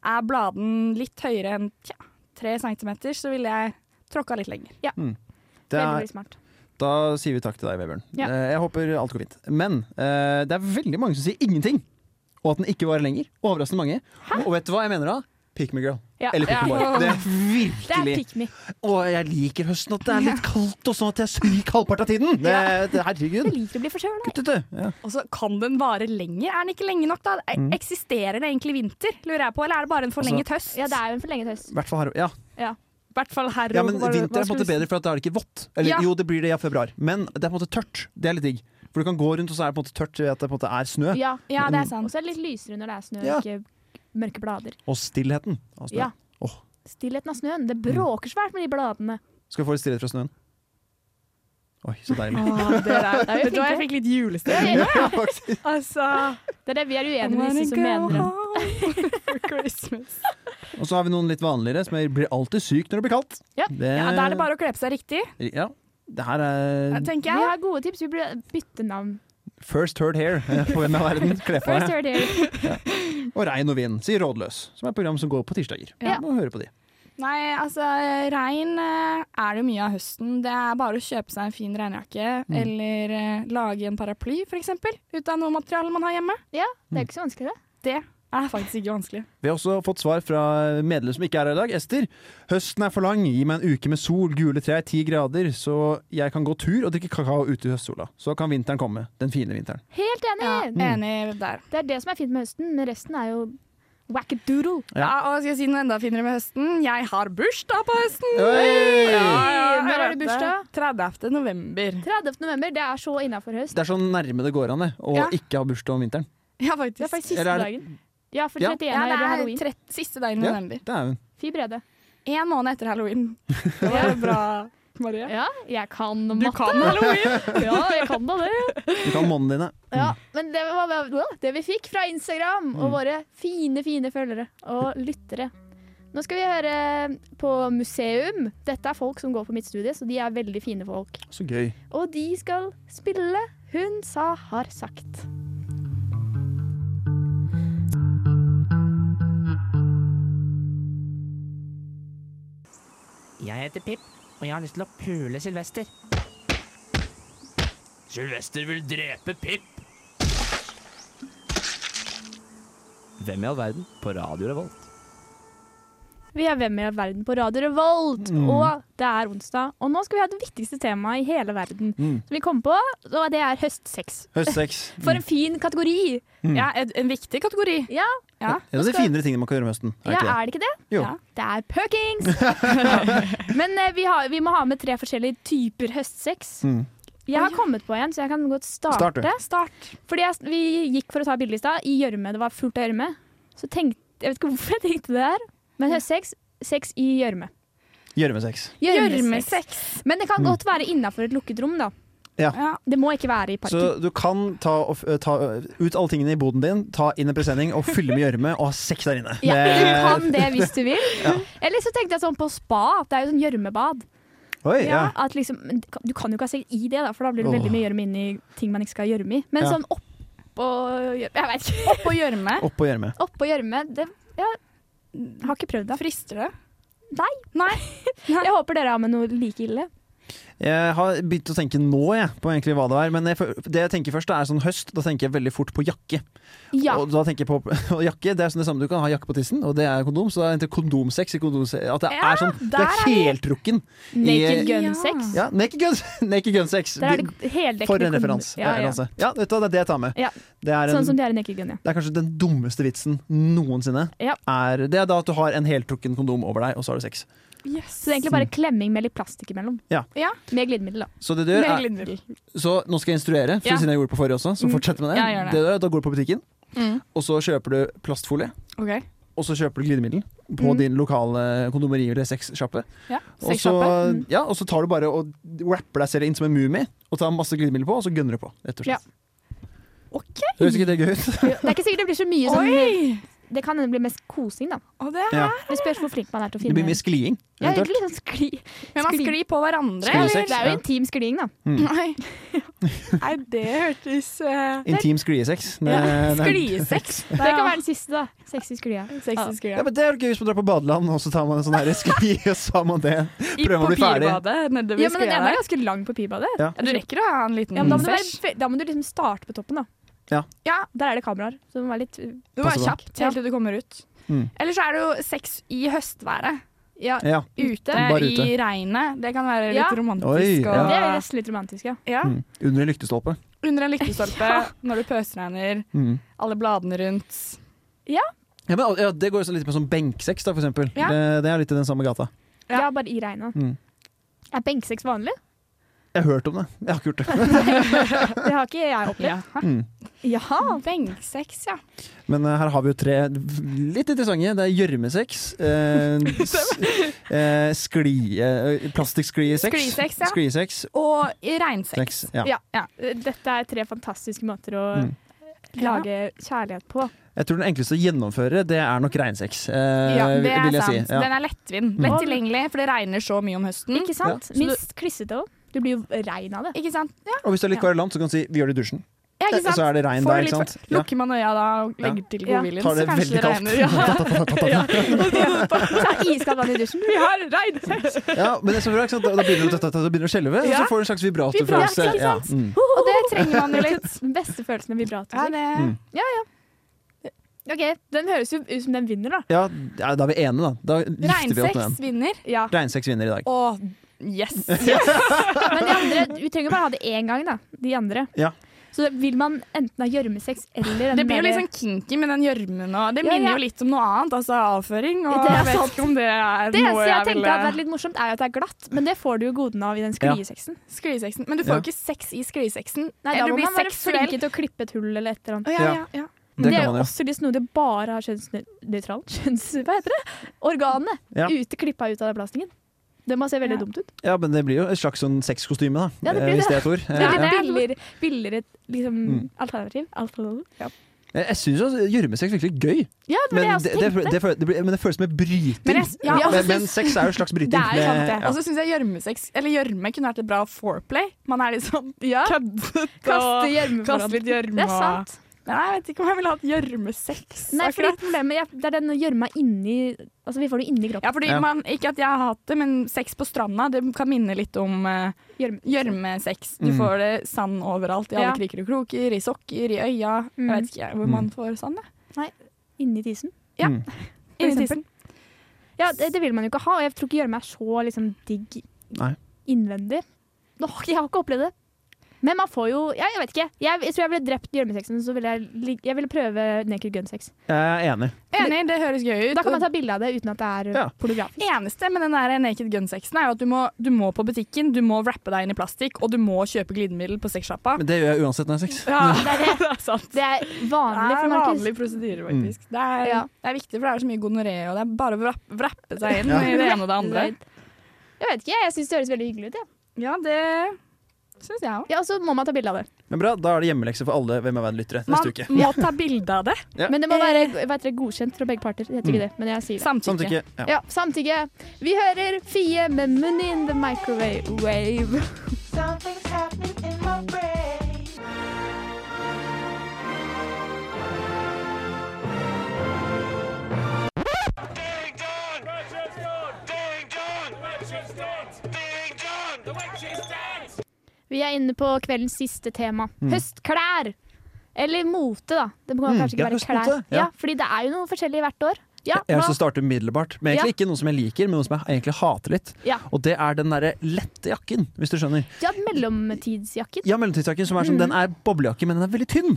Er bladen litt høyere enn tja, tre centimeter, så ville jeg tråkka litt lenger.
Det
Veldig,
er,
veldig smart.
da sier vi takk til deg, Vebjørn.
Ja.
Eh, Jeg håper alt går fint. Men eh, det er veldig mange som sier ingenting. Og at den ikke varer lenger. Overraskende mange. Og vet du hva jeg mener da? Pick me girl.
Ja.
Eller pick me boy. Det er
Det er
virkelig
pick me.
Å, jeg liker høsten. At det er litt kaldt, og sånn at jeg er syk halvparten av tiden. Det, det, herregud.
Jeg liker å bli forkjøla.
Gutt, vet du. Ja.
Og så kan den vare lenger. Er den ikke lenge nok, da? E-
Mm.
Eksisterer det egentlig vinter, lurer jeg på, eller er det bare en
Altså-
forlenget høst?
Ja, det er jo en forlenget høst.
I hvert fall her. Ja.
I hvert fall her
Ja,
og-
men
hva- hva
vinter er på en
skulle
måte
du si?
bedre, for at da er det ikke vått. Eller
Ja.
jo, det blir det i februar, men det er på en måte tørt. Det er litt digg. For du kan gå rundt, og så er det på en måte tørt ved at det på en måte er snø.
Ja,
Ja, det er
Og
sant.
så er det litt lysere når det er snø,
Ja.
ikke mørke blader.
Og stillheten av snø.
Ja.
Åh.
Stillheten av snøen. Det bråker svært med de bladene.
Skal vi få litt stillhet fra snøen? Oi, så deilig.
Å, dere er-
er jo
Vet du hva, jeg
flinke.
fikk litt julestemning.
Det
Ja, faktisk.
Altså,
er det vi er uenige med disse som mener det.
For Christmas.
og så har vi noen litt vanligere, som er, blir alltid syk når det blir kaldt.
Ja.
det,
Ja, Da er det bare å kle på seg riktig,
Ja. Det her er
Vi
tenker jeg.
har gode tips. Vi burde bytte navn.
first heard hair eh, på Hvem er verden? Kle på
First
deg.
heard here.
Og Regn og vind, sier Rådløs, som er et program som går på tirsdager.
Ja.
Må høre på de.
Nei, altså regn eh, er det mye av høsten. Det er bare å kjøpe seg en fin regnjakke
Mm.
eller eh, lage en paraply f.eks. ut av noe materiale man har hjemme.
Ja, det er ikke så vanskelig, det.
Det er faktisk ikke vanskelig.
Vi har også fått svar fra medlem som ikke er her i dag, Ester. Høsten er for lang, gi meg en uke med sol, gule trær, ti grader, så jeg kan gå tur og drikke kakao ute i høstsola. Så kan vinteren komme, den fine vinteren.
Helt enig!
Ja, Enig der.
Det er det som er fint med høsten, men resten er jo wackadoodle.
Ja.
Ja, og skal jeg si noe enda finere med høsten? Jeg har bursdag på høsten!
Oi!
jeg
Når er det
vet
bursdag?
30. november.
30. november, det er så innafor høst.
Det er så nærme det går an det, å
Ja.
ikke ha bursdag om vinteren.
Ja,
Det
faktisk.
er faktisk siste
Eller er det-
dagen. Ja, for
Ja.
31
ja,
er
det
det
er
halloween.
trett, siste dagen i
Ja.
november.
Det er hun.
Fy brede.
Én måned etter halloween. Det var bra, Marie.
Ja, jeg kan
Du
matte.
kan halloween!
Ja, jeg kan da det.
Du kan månedene dine.
Ja, men det var hva- det vi fikk fra Instagram og våre fine, fine følgere og lyttere. Nå skal vi høre på museum. Dette er folk som går på mitt studie, så de er veldig fine folk.
Så gøy.
Og de skal spille Hun sa har sagt.
Jeg heter Pip, og jeg har lyst til å pule Sylvester.
Sylvester vil drepe Pip. Hvem i all verden på Radio Revolt?
Vi er Hvem i all verden på Radio Revolt, og det er onsdag. Og nå skal vi ha det viktigste temaet i hele verden
Mm.
som vi kom på, og det er høstsex.
Høstsex.
For en fin kategori!
Ja, en, en viktig kategori.
Ja,
Ja.
En av de finere tingene man kan gjøre om høsten.
ja,
Er ikke det?
er det ikke det?
Jo.
Ja.
Det er pøkings! Men eh, vi, har, vi må ha med tre forskjellige typer høstsex.
Mm.
Jeg har kommet på en, så jeg kan godt
Start,
starte.
du.
Start. Fordi jeg, vi gikk for å ta bilde i stad, i gjørme. Det var fullt av gjørme. Så tenkte Jeg vet ikke hvorfor jeg tenkte det her, Men sex, sex i gjørme.
Gjørmesex.
Gjørmesex.
Men det kan
Mm.
godt være innafor et lukket rom, da.
Ja.
Det må ikke være i parken.
Så du kan ta, og f- ta ut alle tingene i boden din, ta inn en presenning og fylle med gjørme og ha sex der inne.
Ja, du kan
Det-
det hvis du vil. Eller så tenkte jeg sånn på spa. Det er jo sånn gjørmebad.
Oi, ja.
At liksom, men du kan jo ikke ha sex i det, da, for da blir det
Åh.
veldig mye gjørme inn i ting man ikke skal ha gjørme i. Men
Ja.
sånn oppå gjørme Jeg vet ikke.
Oppå gjørme.
Oppå gjørme.
Oppå gjørme det, Jeg har ikke prøvd det.
Frister det?
Jeg håper dere har med noe like ille.
Jeg har begynt å tenke nå jeg, på egentlig hva det er, men jeg, f- det jeg tenker først da er sånn høst. Da tenker jeg veldig fort på jakke.
Ja.
Og da tenker jeg på og jakke, Det er sånn det samme du kan ha jakke på tissen, og det er kondom. Så da er det kondomsex i kondomsex. At det
Ja,
er sånn, det
der
er
er
heltrukken.
Naked
i-
gun-sex.
Ja, naked gun, naked gun sex.
Der er det heldekkende
For en
kondom.
referanse.
Ja, ja.
referanse. Ja, vet du hva, det er det jeg tar med.
Ja.
Det er en
Sånn som de er i naked gun, ja.
Det er kanskje den dummeste vitsen noensinne.
Ja.
Er, det er da at du har en heltrukken kondom over deg, og så har du sex.
Så det er egentlig bare klemming med litt plastikk imellom.
Mm. Ja.
Ja.
Med glidemiddel, da.
Så, det du gjør er, så nå skal jeg instruere, for
Ja.
siden jeg gjorde det på forrige også. Så
Mm.
fortsett med det.
Ja, gjør det.
det du gjør, da går du på butikken,
Mm.
og så kjøper du plastfolie.
OK.
Og så kjøper du glidemiddel på
Mm.
din lokale kondomeri- eller sexsjappe.
Ja.
Og, så-
Sexsjappe,
ja, og så tar du bare og wrapper deg selv inn som en mumie og tar masse glidemiddel på, og så gønner du på. Rett og slett.
OK.
Høres ikke det gøy ut?
Det er ikke sikkert det blir så mye sånn
Oi!
Det kan hende det blir mest kosing, da.
Og det er
Ja.
Det spørs hvor flink man er til å
Det
finne
blir mye skliing.
ja,
eventuelt.
egentlig sånn skli.
Men man
Skli-
sklir på hverandre.
Sklir-
eller?
Det er jo
ja.
intim skliing, da.
Nei. Nei, det hørtes uh,
Intim skliesex. Det- det er-
Skliesex.
Det kan være den siste, da. Sexy sklia.
Sexy sklia.
Ja, men Det er jo gøy hvis man drar på badeland, og så tar man en sånn her skli, og så har man det.
I
prøver å bli ferdig.
papirbadet nedover
Ja, men den
sklia
ene er
der.
ganske lang på pipa, det.
Ja.
Ja, Du rekker å ha en liten
Ja, men da, må du være,
sesh.
ve- da må du liksom starte på toppen, da.
Ja.
Ja.
Der er det kameraer, så du må være litt uh,
Du må
Passe
være
på.
kjapp helt til du kommer ut.
Mm.
Eller så er det jo sex i høstværet.
Ja,
Ja.
Ute,
Bare ute.
i regnet. Det kan være litt
Ja.
romantisk.
Oi,
det
og,
er nesten litt romantisk, ja.
ja.
Mm. Under en lyktestolpe.
Under en lyktestolpe, når du pøsregner,
Mm.
alle bladene rundt.
Ja, men, ja, det går jo så litt med sånn benksex, da, for eksempel.
Ja.
Det, det er litt i den samme gata.
Ja.
Ja, bare i regnet.
Mm.
Er benkesex vanlig?
Jeg har hørt om det. Jeg har ikke gjort det.
Det har ikke jeg opplevd.
Mm.
Jaha.
Benksex, ja.
Men eh, her har vi jo tre litt interessante. Det er gjørmesex. Eh, s- eh, skli... Eh, Plastikksklie-sex.
Sklisex, ja.
Sklisex.
Og i regnsex.
Sex. Ja.
Ja. Eh, Dette er tre fantastiske måter å
Mm.
lage kjærlighet på.
Jeg tror den enkleste å gjennomføre, det er nok reinsex. Eh,
Ja, det er
vil jeg
sant.
si. Ja.
Den er lettvint.
Mm.
Lett tilgjengelig, for det regner så mye om høsten.
Ikke sant?
Ja.
Minst klissete òg. Du blir jo rein av det.
Ikke sant? Ja,
Og hvis du er litt kverulant, så kan du si 'vi gjør det i dusjen'.
ja, ikke sant?
Så er det regn
Får
der,
litt
ikke
for-
sant? Ja.
Lukker man øya da og legger til
Ja.
godviljen,
Tar
så
det
kanskje
veldig
det
kaldt.
regner. Ja.
Så er iskald vann i dusjen.
Vi har regnsex!
Ja, men det som er bra, ikke sant? Da da begynner du, da- da- da begynner du å skjelve, og så
Ja.
får du en slags vibratorfølelse.
Vibrator, ikke
Ja,
sant?
mm.
Og det trenger man jo litt.
Den beste følelsen med
Ja,
vibrator.
det...
Mm.
Ok, Den høres jo ut som den vinner, da.
ja, ja, da er vi enige, da. Da gifter vi oss med den.
Regnsex vinner.
Ja.
Reinsex vinner i dag.
Å, yes!
Men de andre, vi trenger bare ha det én gang, da. De andre.
Ja.
Så vil man enten ha gjørmesex eller den
Det blir jo
derre-
litt sånn kinky med den gjørmen. Og det
Ja,
minner
ja.
jo litt om noe annet, altså avføring. Og
Det er
jeg vet
sant.
ikke om det er
Det
noe
eneste jeg
jeg
tenkte hadde vært
ville
litt morsomt, er jo at det er glatt, men det får du jo godene av i den skliesexen.
Sklisexen. Men du får
Ja.
jo ikke sex i sklisexen.
Nei, da
Eller
må
bli
man være
seksuell.
flinke til å klippe et hull eller et eller annet.
Å, ja, ja, ja.
Men
Det
det er
kan
jo
man jo.
også litt snodig å bare ha kjønnsnøytralt kjønns, Hva heter det? Organet
Ja.
ute klippa ut av den plastikken. Det må se veldig
Ja.
dumt ut.
Ja, men det blir jo et slags sånn sexkostyme, da.
Ja, det blir
eh, Hvis
det.
det er et ord.
Det
Eh,
Ja,
er
ja.
litt
det er
billigere, billigere liksom,
Mm.
alternativ. Alternativ. Ja.
Jeg- Jeg syns jo gjørmesex er virkelig gøy,
det var det
men
jeg også
det, det,
tenkte.
det, føl- det, blir- men det føles som en bryting.
Men jeg- ja, og så
men, men
syns-
sex er jo et slags bryting.
Det er jo sant,
Med- altså,
det.
ja.
Og så syns jeg gjørmesex, eller gjørme, kunne vært et bra foreplay. Man er liksom
ja.
køddet
Kaste
og
gjørme
kaste
foran.
litt gjørme.
Det er sant.
Nei, jeg vet ikke om jeg ville hatt gjørmesex.
Nei, fordi
akkurat.
problemet er- det er den gjørma inni Altså, vi får det inni
Ja,
kroppen.
fordi
Ja.
Man, ikke at jeg har hatt det, men sex på stranda det kan minne litt om eh,
Gjørme.
gjørmesex. Du
Mm.
får det sand overalt, i alle
Ja.
kriker og kroker, i sokker, i øya.
Mm.
Jeg vet ikke hvor man får sånn, sand. jeg.
Inni tissen.
Ja.
Mm.
For
Inni
eksempel. Ja, det, det vil man jo ikke ha, og jeg tror ikke gjørme er så liksom, digg
Nei.
innvendig. Nå, jeg har ikke opplevd det. Men man får jo ja, Jeg vet ikke. Jeg, jeg tror jeg ville drept gjørmesexen, så ville jeg, lig- jeg ville prøve naked gun sex.
Jeg er enig.
Enig, det høres gøy ut.
Da kan man ta bilde av det uten at det er
Ja.
pornografisk.
eneste med den der naked gun-sexen er jo at du må, du må på butikken, du må wrappe deg inn i plastikk, og du må kjøpe glidemiddel på sexsjappa.
Men det gjør jeg uansett når jeg har sex.
Ja,
Det er,
det er sant.
det er
Det
vanlig
er
for Markus.
vanlig prosedyre,
Mm.
faktisk. Det, er,
Ja.
det er viktig, for det er så mye gonoré, og det er bare å vrapp- vrappe seg inn i det ene og det andre.
Jeg vet ikke, jeg syns det høres veldig hyggelig ut. Ja.
Ja, det syns jeg òg.
Ja, og så må man ta bilde av det.
Men bra, Da er det hjemmelekse for alle Hvem er verden-lyttere
Man
neste uke.
må ta bilde av det.
Ja. Mm.
Men det
Eh.
må være hva heter det, godkjent fra begge parter. Det heter ikke det, men jeg sier det.
Samtykke.
Samtykke. Sånn Ja.
Ja, samtykke. Vi hører Fie med 'Money in the Microwave'. Wave. Vi er inne på kveldens siste tema.
Mm.
Høstklær! Eller mote, da. Det kan kanskje ikke
ja,
være
høstmote,
klær.
ja.
Ja, fordi det er jo noe forskjellig hvert år. Ja,
Jeg har
hva?
lyst til å starte umiddelbart med egentlig ikke noe som jeg liker, men noe som jeg egentlig hater litt.
Ja.
Og det er den derre lette jakken, hvis du skjønner.
ja mellomtidsjakken.
Ja, mellomtidsjakken som er sånn, den er boblejakke, men den er veldig tynn.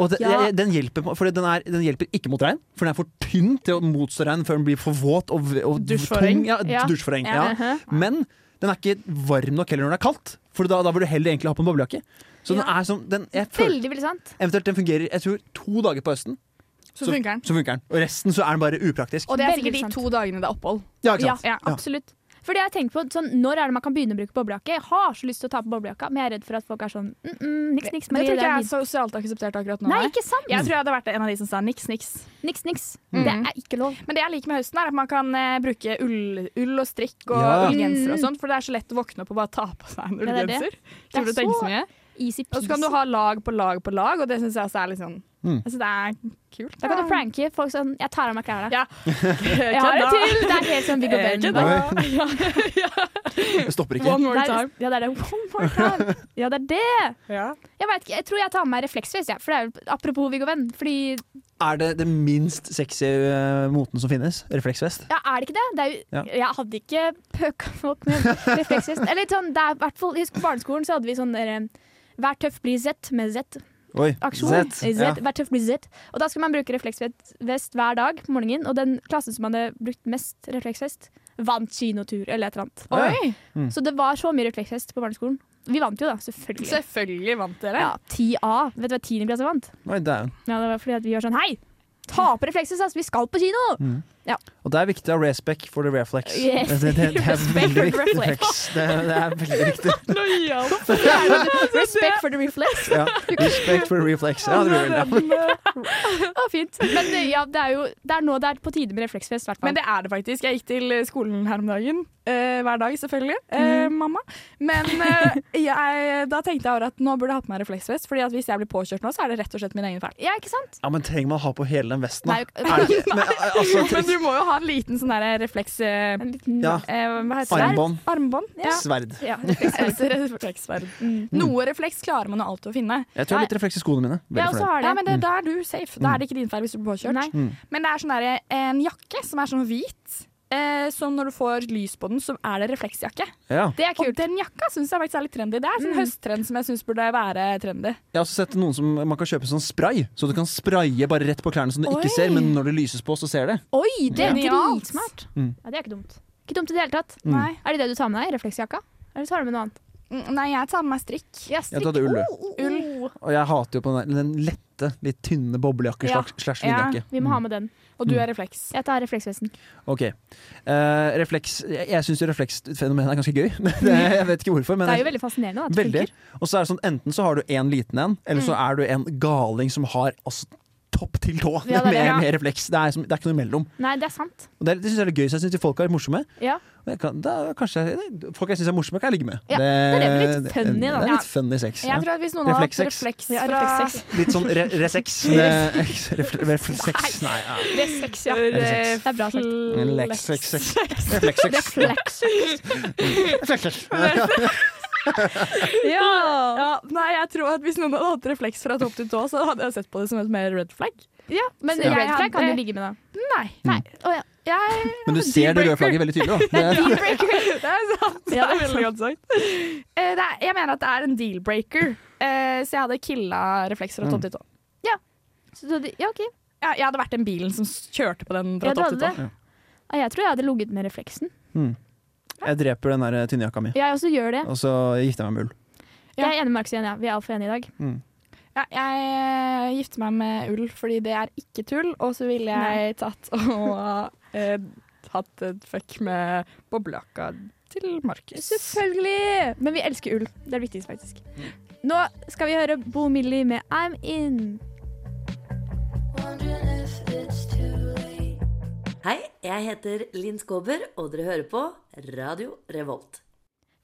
Og det,
Ja.
jeg- den, hjelper, på- fordi den, er, den hjelper ikke mot regn, for den er for tynn til å motstå regn før den blir for våt og, v- og tung.
Dusjforheng.
Ja,
Ja.
dusjforheng,
Ja.
ja.
Uh-huh.
Men den er ikke varm nok heller når det er kaldt, for da, da burde du heller egentlig ha på en boblejakke. Så den er som, den, jeg føler,
Veldig, veldig sant.
eventuelt den fungerer jeg tror, to dager på høsten,
Så funker den.
så funker den. Og resten så er den bare upraktisk.
Og det er
Veldig
sikkert de
sant.
to dagene det er opphold.
Ja, ikke
Ja,
sant?
ja, absolutt. For det jeg tenker på, sånn, Når er det man kan begynne å bruke boblejakke? Jeg har så lyst til å ta på boblejakka, men jeg er redd for at folk er sånn mm, mm, niks, niks,
Men
Marie, det
jeg tror ikke
er
jeg
din.
er sosialt akseptert akkurat nå.
Nei,
nei.
ikke sant?
Jeg tror jeg hadde vært en av de som sa niks, niks.
Niks, niks. Det
Mm.
er ikke lov.
Men det jeg liker med høsten, er at man kan eh, bruke ull, ull og strikk og
Ja.
ullgenser og sånt, for det er så lett å våkne opp og bare ta på seg en
Mm. Ja, det er det.
ullgenser.
Det er
Slipper å tenke
så-
så mye.
Easy
Og så kan du
peasy.
ha lag på lag på lag, og det syns jeg også er litt sånn
Mm.
altså, Det er kult.
Da kan du pranke folk sånn Jeg tar av meg klærne.
Ja.
Jeg har det til! Det er helt sånn Viggo Bellen.
Kødda.
Det stopper ikke.
One more
Det er-
time.
Ja, det er det. One more time. Ja, det er det.
Ja.
Jeg, vet ikke, jeg tror jeg tar med meg refleksvest, jeg. For det er jo apropos Viggo Venn. Fordi
Er det den minst sexy eh, moten som finnes? Refleksvest.
Ja, er det ikke det? det er jo,
Ja.
Jeg hadde ikke pøka folk med refleksvest. Eller sånn, det er i hvert fall Husk på barneskolen så hadde vi sånn derre Vær tøff, bli Z med Z-aksjon.
Oi,
Z. Vær tøff, bli Z. Og da skulle man bruke refleksvest hver dag på morgenen. Og den klassen som hadde brukt mest refleksvest, vant kinotur eller et eller annet.
Oi!
Så det var så mye refleksvest på barneskolen. Vi vant jo, da. Selvfølgelig.
Selvfølgelig vant dere.
Ja, 10A. Vet du hva 10. klasse vant?
Oi, dæven.
Ja, det var fordi at vi var sånn Hei! Ta på refleksvest, ass! Vi skal på kino!
Og det er viktig å ha respect for the reflex.
Yes.
Det, det, det er
Respect
veldig
for
viktig.
reflex.
Reflex. Det, det er veldig viktig.
sånn, Respect for the reflex.
Ja. Respect for reflex. Ja, det blir veldig bra.
Å, fint. Men eh, ja, det er jo det er nå det er på tide med refleksfest, i hvert fall.
Men det er det faktisk. Jeg gikk til eh, skolen her om dagen. eh, hver dag, selvfølgelig. eh, Mamma. Men eh, jeg, da tenkte jeg over at nå burde jeg ha på meg refleksvest. Fordi at hvis jeg blir påkjørt nå, så er det rett og slett min egen feil.
Ja, ikke sant?
Ja, men trenger man ha på hele den vesten,
Nei,
da? Er det ikke? Men, altså,
Men du må jo ha en liten sånn der refleks... eh,
En liten
ja.
eh, hva heter det?
Armbånd.
Armbånd. Ja.
Sverd.
ja.
Refleksverd. Noe refleks klarer man jo alltid å finne.
Jeg tror jeg har litt refleks i skoene mine.
Jeg
Veldig
også
fornøyd.
har det.
Ja, men det, Da er du safe. Da er det ikke din feil hvis du blir påkjørt.
Nei.
Men det er sånn der, en jakke som er sånn hvit, eh, som når du får lys på den, så er det refleksjakke.
Ja.
Det er
Og
kult.
den jakka syns jeg faktisk er litt trendy. Det er sånn høsttrend som jeg syns burde være trendy.
Jeg har også sett noen som man kan kjøpe sånn spray, så du kan spraye bare rett på klærne som du
Oi.
ikke ser, men når det lyses på, så ser det.
Oi, det er
Genialt.
dritsmart.
Mm.
Ja, det er ikke dumt. Ikke dumt i det hele tatt.
Nei.
Er det det du tar med deg? Refleksjakka? Eller tar du med noe annet?
Mm, Nei, jeg tar med meg strikk.
Ja,
Jeg tar det ull, du.
Oh, oh, oh.
Og jeg hater jo på den, der- den lette, litt tynne boblejakke
Ja.
slags- slash
Ja.
vindjakke.
Vi må ha med den.
Og du
Mm.
er refleks.
Jeg tar refleksvesten.
Ok. Eh, refleks Jeg, jeg syns jo refleksfenomenet er ganske gøy. Men det, jeg vet ikke hvorfor. Men
Det er jo veldig fascinerende. Da, at det
veldig.
funker. Mm.
Og så er det sånn enten så har du en liten en, eller så er du en galing som har altså, topp til tå
Ja, det er det,
med,
ja.
med refleks. Det er, som, det er ikke noe imellom.
Nei, det er sant.
Og det, er- det syns jeg er litt gøy, så jeg syns de folka er morsomme.
Ja.
Og jeg kan, da, kanskje, jeg- folk jeg syns er morsomme, kan jeg ligge med.
Ja, det er det med litt funny, da.
Det er
Ja.
litt funny sex. Ja.
Jeg tror at Hvis noen har hatt
Refleks-sex.
refleks
Ja,
fra
reflekssex.
Litt sånn re resex. Reflekssex. Nei, ja.
Det er sex, ja.
Eller, eh,
Det er bra sagt.
Reflekssex. Reflekssex.
Reflekssex.
Reflekssex.
Ja.
Ja, nei, jeg tror at Hvis noen hadde hatt refleks fra topp til tå, så hadde jeg sett på det som et mer red flag.
ja, men
Ja.
red flag kan
Jeg
du ligge med, da.
Nei.
Nei.
ja. Jeg
Mm. Men du ser det røde flagget veldig tydelig. Da. Det er,
Det er sant.
Ja,
det er veldig godt sagt. Eh, det er, jeg mener at det er en deal-breaker, eh, så jeg hadde killa refleks fra topp
Mm.
til tå.
Så, du- ja, OK.
Ja, jeg hadde vært den bilen som s- kjørte på den fra
Ja, du
topp til
hadde
tå.
det. Ja, jeg tror jeg hadde ligget med refleksen.
jeg dreper den der eh, tynne jakka mi,
Jeg også gjør det.
og så gifter jeg meg med ull.
Jeg er enig med Markus igjen, ja. Vi er altfor enige i dag.
Ja, jeg eh, gifter meg med ull fordi det er ikke tull, og så ville jeg tatt og eh, hatt et fuck med bobljakka til Markus.
Selvfølgelig! Men vi elsker ull. Det er viktigst, faktisk.
Mm.
Nå skal vi høre Bo Millie med I'm In.
Hei, jeg heter Linn Skåber, og dere hører på Radio Revolt.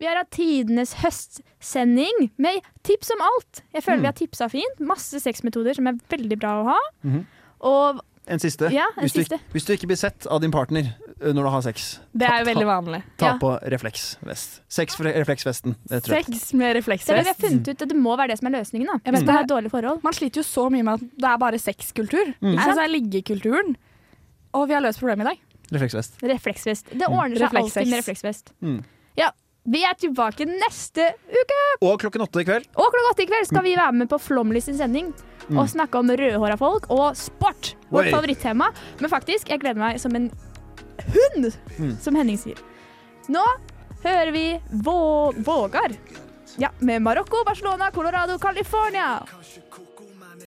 Vi har hatt tidenes høstsending med tips om alt. Jeg
Mm.
føler vi har tipsa fint. Masse sexmetoder som er veldig bra å ha.
Mhm.
Og
En siste.
Ja, en
hvis, du,
siste.
ikke- hvis du ikke blir sett av din partner ø, når du har sex,
Det
Ta-
er jo
ta-
veldig vanlig.
ta
Ja.
på refleksvest. Sex for refleksvesten. Det tror jeg.
Sex med
det er det vi har
refleksvest.
funnet ut at det må være det som er løsningen. da.
vet
Hvis
det.
man har dårlige forhold.
Man sliter jo så mye med at det er bare sexkultur. Mm. Altså det er liggekulturen. Og vi har løst problemet i dag.
Refleksvest.
Refleksvest. Det ordner seg
Refleksvest.
alltid med refleksvest.
Mm.
Ja, vi er tilbake neste uke!
Og klokken åtte i kveld
Og klokka åtte i kveld skal vi være med på Flåmlys sin sending og snakke om rødhåra folk og sport. Vårt
Mm. Oi.
favorittema. Men faktisk, jeg gleder meg som en hund,
Mm.
som Henning sier. Nå hører vi Vå Vågar. Ja, med Marokko, Barcelona, Colorado, California.